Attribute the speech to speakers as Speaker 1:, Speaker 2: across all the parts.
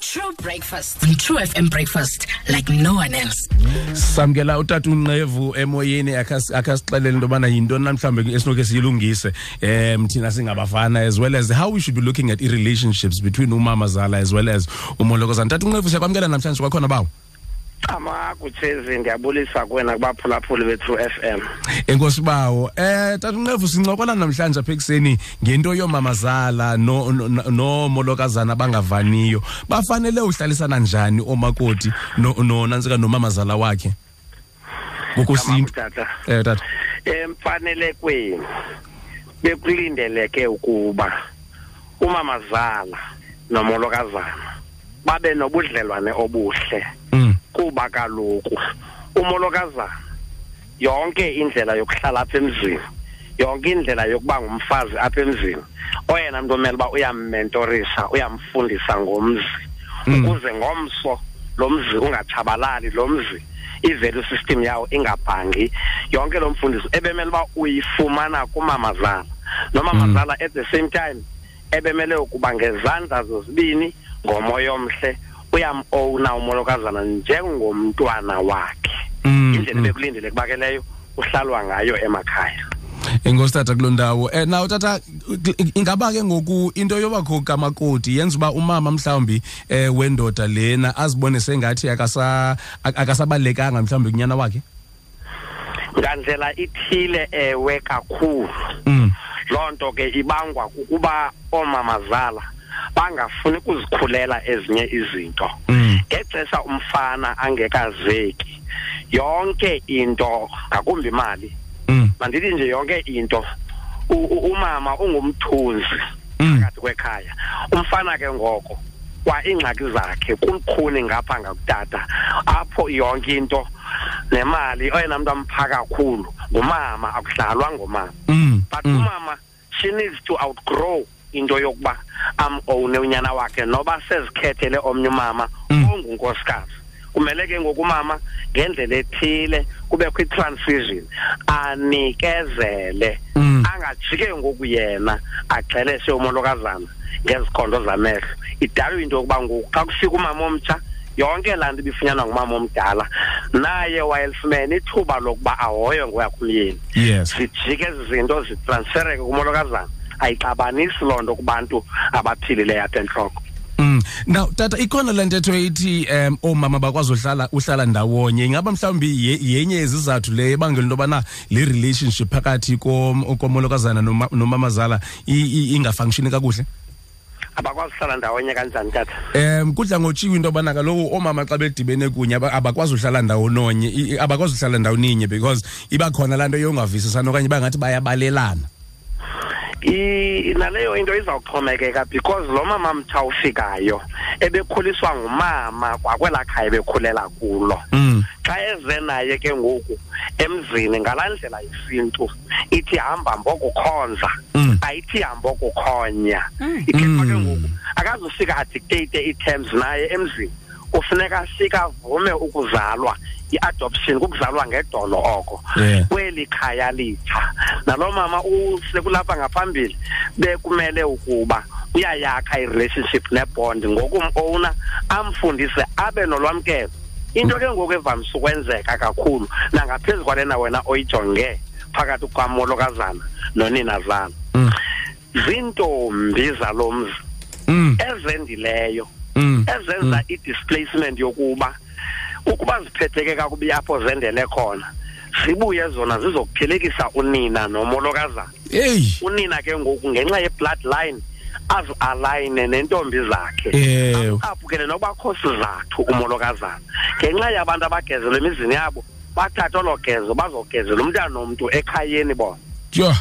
Speaker 1: True breakfast. True FM breakfast like no one else.
Speaker 2: samkela utata unqevu emoyeni akhas- akhasixelele into yobana yintoni na mhlawumbi esinoke siyilungise um thina singabafana as well as how we should be looking at i-relationships between umama zala as well as umolokozana tata unqevu siyakwamkela namhlanje kwakhona bawo
Speaker 3: amakutshezi ndiyabulisa kwena kubaphulaphuli be-true f m
Speaker 2: enkosi bawo eh tata unqevu sincokola namhlanje apha ekuseni ngento yoomamazala no- no- no- noomolokazana abangavaniyo bafanele uhlalisana njani oomakoti no- no- nantsika nomamazala wakhe ngokosintu
Speaker 3: tata
Speaker 2: eh tata
Speaker 3: emfanelekweni bekulindeleke ukuba umamazala nomolokazana babe nobudlelwane obuhle
Speaker 2: mm.
Speaker 3: kuba kaloku umolokazana yonke indlela yokuhlala apha emzini yonke indlela yokuba ngumfazi apha emzini oyena mntu omele uba uyammentorisa uyamfundisa ngomzi
Speaker 2: Mm.
Speaker 3: ukuze ngomso lo mzi ungatshabalali lo mzi i-value system yawo ingabhangi yonke lo mfundiso ebemele uba uyifumana kumamazala
Speaker 2: Mm.
Speaker 3: nomamazala at the same time ebemele ukuba ngezandla zozibini ngomoya omhle uyamowuna umolokazana njengomntwana wakhe
Speaker 2: Mm,
Speaker 3: indlela
Speaker 2: mm.
Speaker 3: bekulindele kubakeleyo uhlalwa ngayo emakhaya
Speaker 2: enkosi tata kuloo ndawo um naw tata kl- ingaba ke ngoku into yobakho kamakoti yenza uba umama mhlawumbi um wendoda lena azibone sengathi akasa- ak- akasabalulekanga mhlawumbi kunyana wakhe
Speaker 3: ngandlela ithile ewe kakhulu
Speaker 2: mm.
Speaker 3: loo nto ke ibangwa kukuba oomamazala bangafuni kuzikhulela ezinye izinto
Speaker 2: Mm.
Speaker 3: ngexesha umfana angekazeki yonke into ngakumbi imali
Speaker 2: Mm.
Speaker 3: mandithi nje yonke into u- u- umama ungumthunzi
Speaker 2: Mm.
Speaker 3: phakathi kwekhaya umfana ke ngoko kwa iingxaki zakhe kulukhuni ngapha ngakutata apho yonke into nemali oyena mntu ampha kakhulu ngumama akudlalwa ngumama
Speaker 2: Mm.
Speaker 3: but
Speaker 2: Mm.
Speaker 3: umama she needs to outgrow into yokuba amowune unyana wakhe noba sezikhethele omnye umama
Speaker 2: Mm.
Speaker 3: ongunkosikazi kumele ke ngokumama ngendlela ethile kubekho i-transition anikezele
Speaker 2: Mm.
Speaker 3: angajike ngoku yena agxelese umolokazana ngezikhondo zamehlo idalwe into yokuba ngoku xa kufika umama omtsha yonke laa nto ibifunyanwa ngumama omdala naye wayelifumene ithuba lokuba ahoywe ngoyakhumyeni
Speaker 2: yes mm.
Speaker 3: zijike ezi zinto zitransfereke kumolokazana ayixabanisi loo nto kubantu abaphilileyo apha entloko
Speaker 2: Mm. Now tata ikhona le ntetho ethi um oomama bakwazi uhlala uhlala ndawonye ingaba mhlawumbi ye- yenye yezizathu le ebangela into yobana le relationship phakathi kom- komolokazana noma- nomamazala i- i- ingafunkshini kakuhle
Speaker 3: abakwazi uhlala ndawonye kanjani tata
Speaker 2: um kudla ngotshiwo into yobana kaloku oomama xa bedibene kunye aba- abakwazi uhlala ndawononye i- i- abakwazi uhlala ndawoninye because iba khona laa nto yongavisisana okanye bangathi bayabalelana
Speaker 3: I- naleyo into izawuxhomekeka because lo mama mtsha ufikayo ebekhuliswa ngumama kwakwelaa khaya ebekhulela kulo
Speaker 2: mm.
Speaker 3: xa eze naye ke ngoku emzini ngalaa ndlela yesintu ithi hamba mbokukhonza
Speaker 2: Mm.
Speaker 3: ayithi hamba okukhonya
Speaker 1: Mm.
Speaker 3: ikhefa ke
Speaker 2: Mm.
Speaker 3: ngoku akazufika adictate ii-terms naye emzini kufuneka sika avume ukuzalwa i-adoption kukuzalwa ngedolo oko
Speaker 2: Yeah.
Speaker 3: kweli khaya litsha nalo mama usekulapha ngaphambili bekumele ukuba uyayakha i-relationship nebond ngokumowuna amfundise abe nolwamkelo into ke ngoku evamise ukwenzeka kakhulu nangaphezu kwalena wena oyijonge phakathi kwamolokazana noninazana
Speaker 2: Mm.
Speaker 3: ziintombi zalo mzi
Speaker 2: Mm.
Speaker 3: ezendileyo
Speaker 2: Mm.
Speaker 3: ezenza i-displacement yokuba ukuba ziphetheke kakubi apho zendele khona zibuye zona zizokuphelekisa unina nomolokazana
Speaker 2: eyi
Speaker 3: unina ke ngoku ngenxa ye-bloodline azialayine nentombi zakhe
Speaker 2: ewe
Speaker 3: aphukele nobakho sizathu umolokazana ngenxa yabantu abagezelwe emizini yabo bathathe olo gezo bazogezela umntana nomntu ekhayeni bona
Speaker 2: Yho,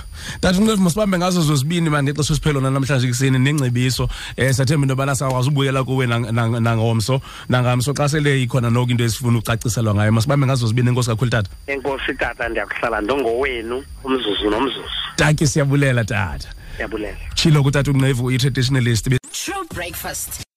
Speaker 2: tata unqevu masibambe ngazo zozibini mani ngexesha esiphelona namhlanje kuseni nengcebiso um siyathemba into yobana sawukwazi ubuyela kuwe nang- nang- nangomso nangamso xa sele ikhona noko into esifuna ukucaciselwa ngayo masibambe ngazo zozibini enkosi kakhulu tata
Speaker 3: enkosi tata ndiyakuhlala ndongowenu umzuzu nomzuzu
Speaker 2: taki siyabulela tata
Speaker 3: ndiyabulela
Speaker 2: tshilo kutata unqevu uyi-traditionalist
Speaker 1: True breakfast.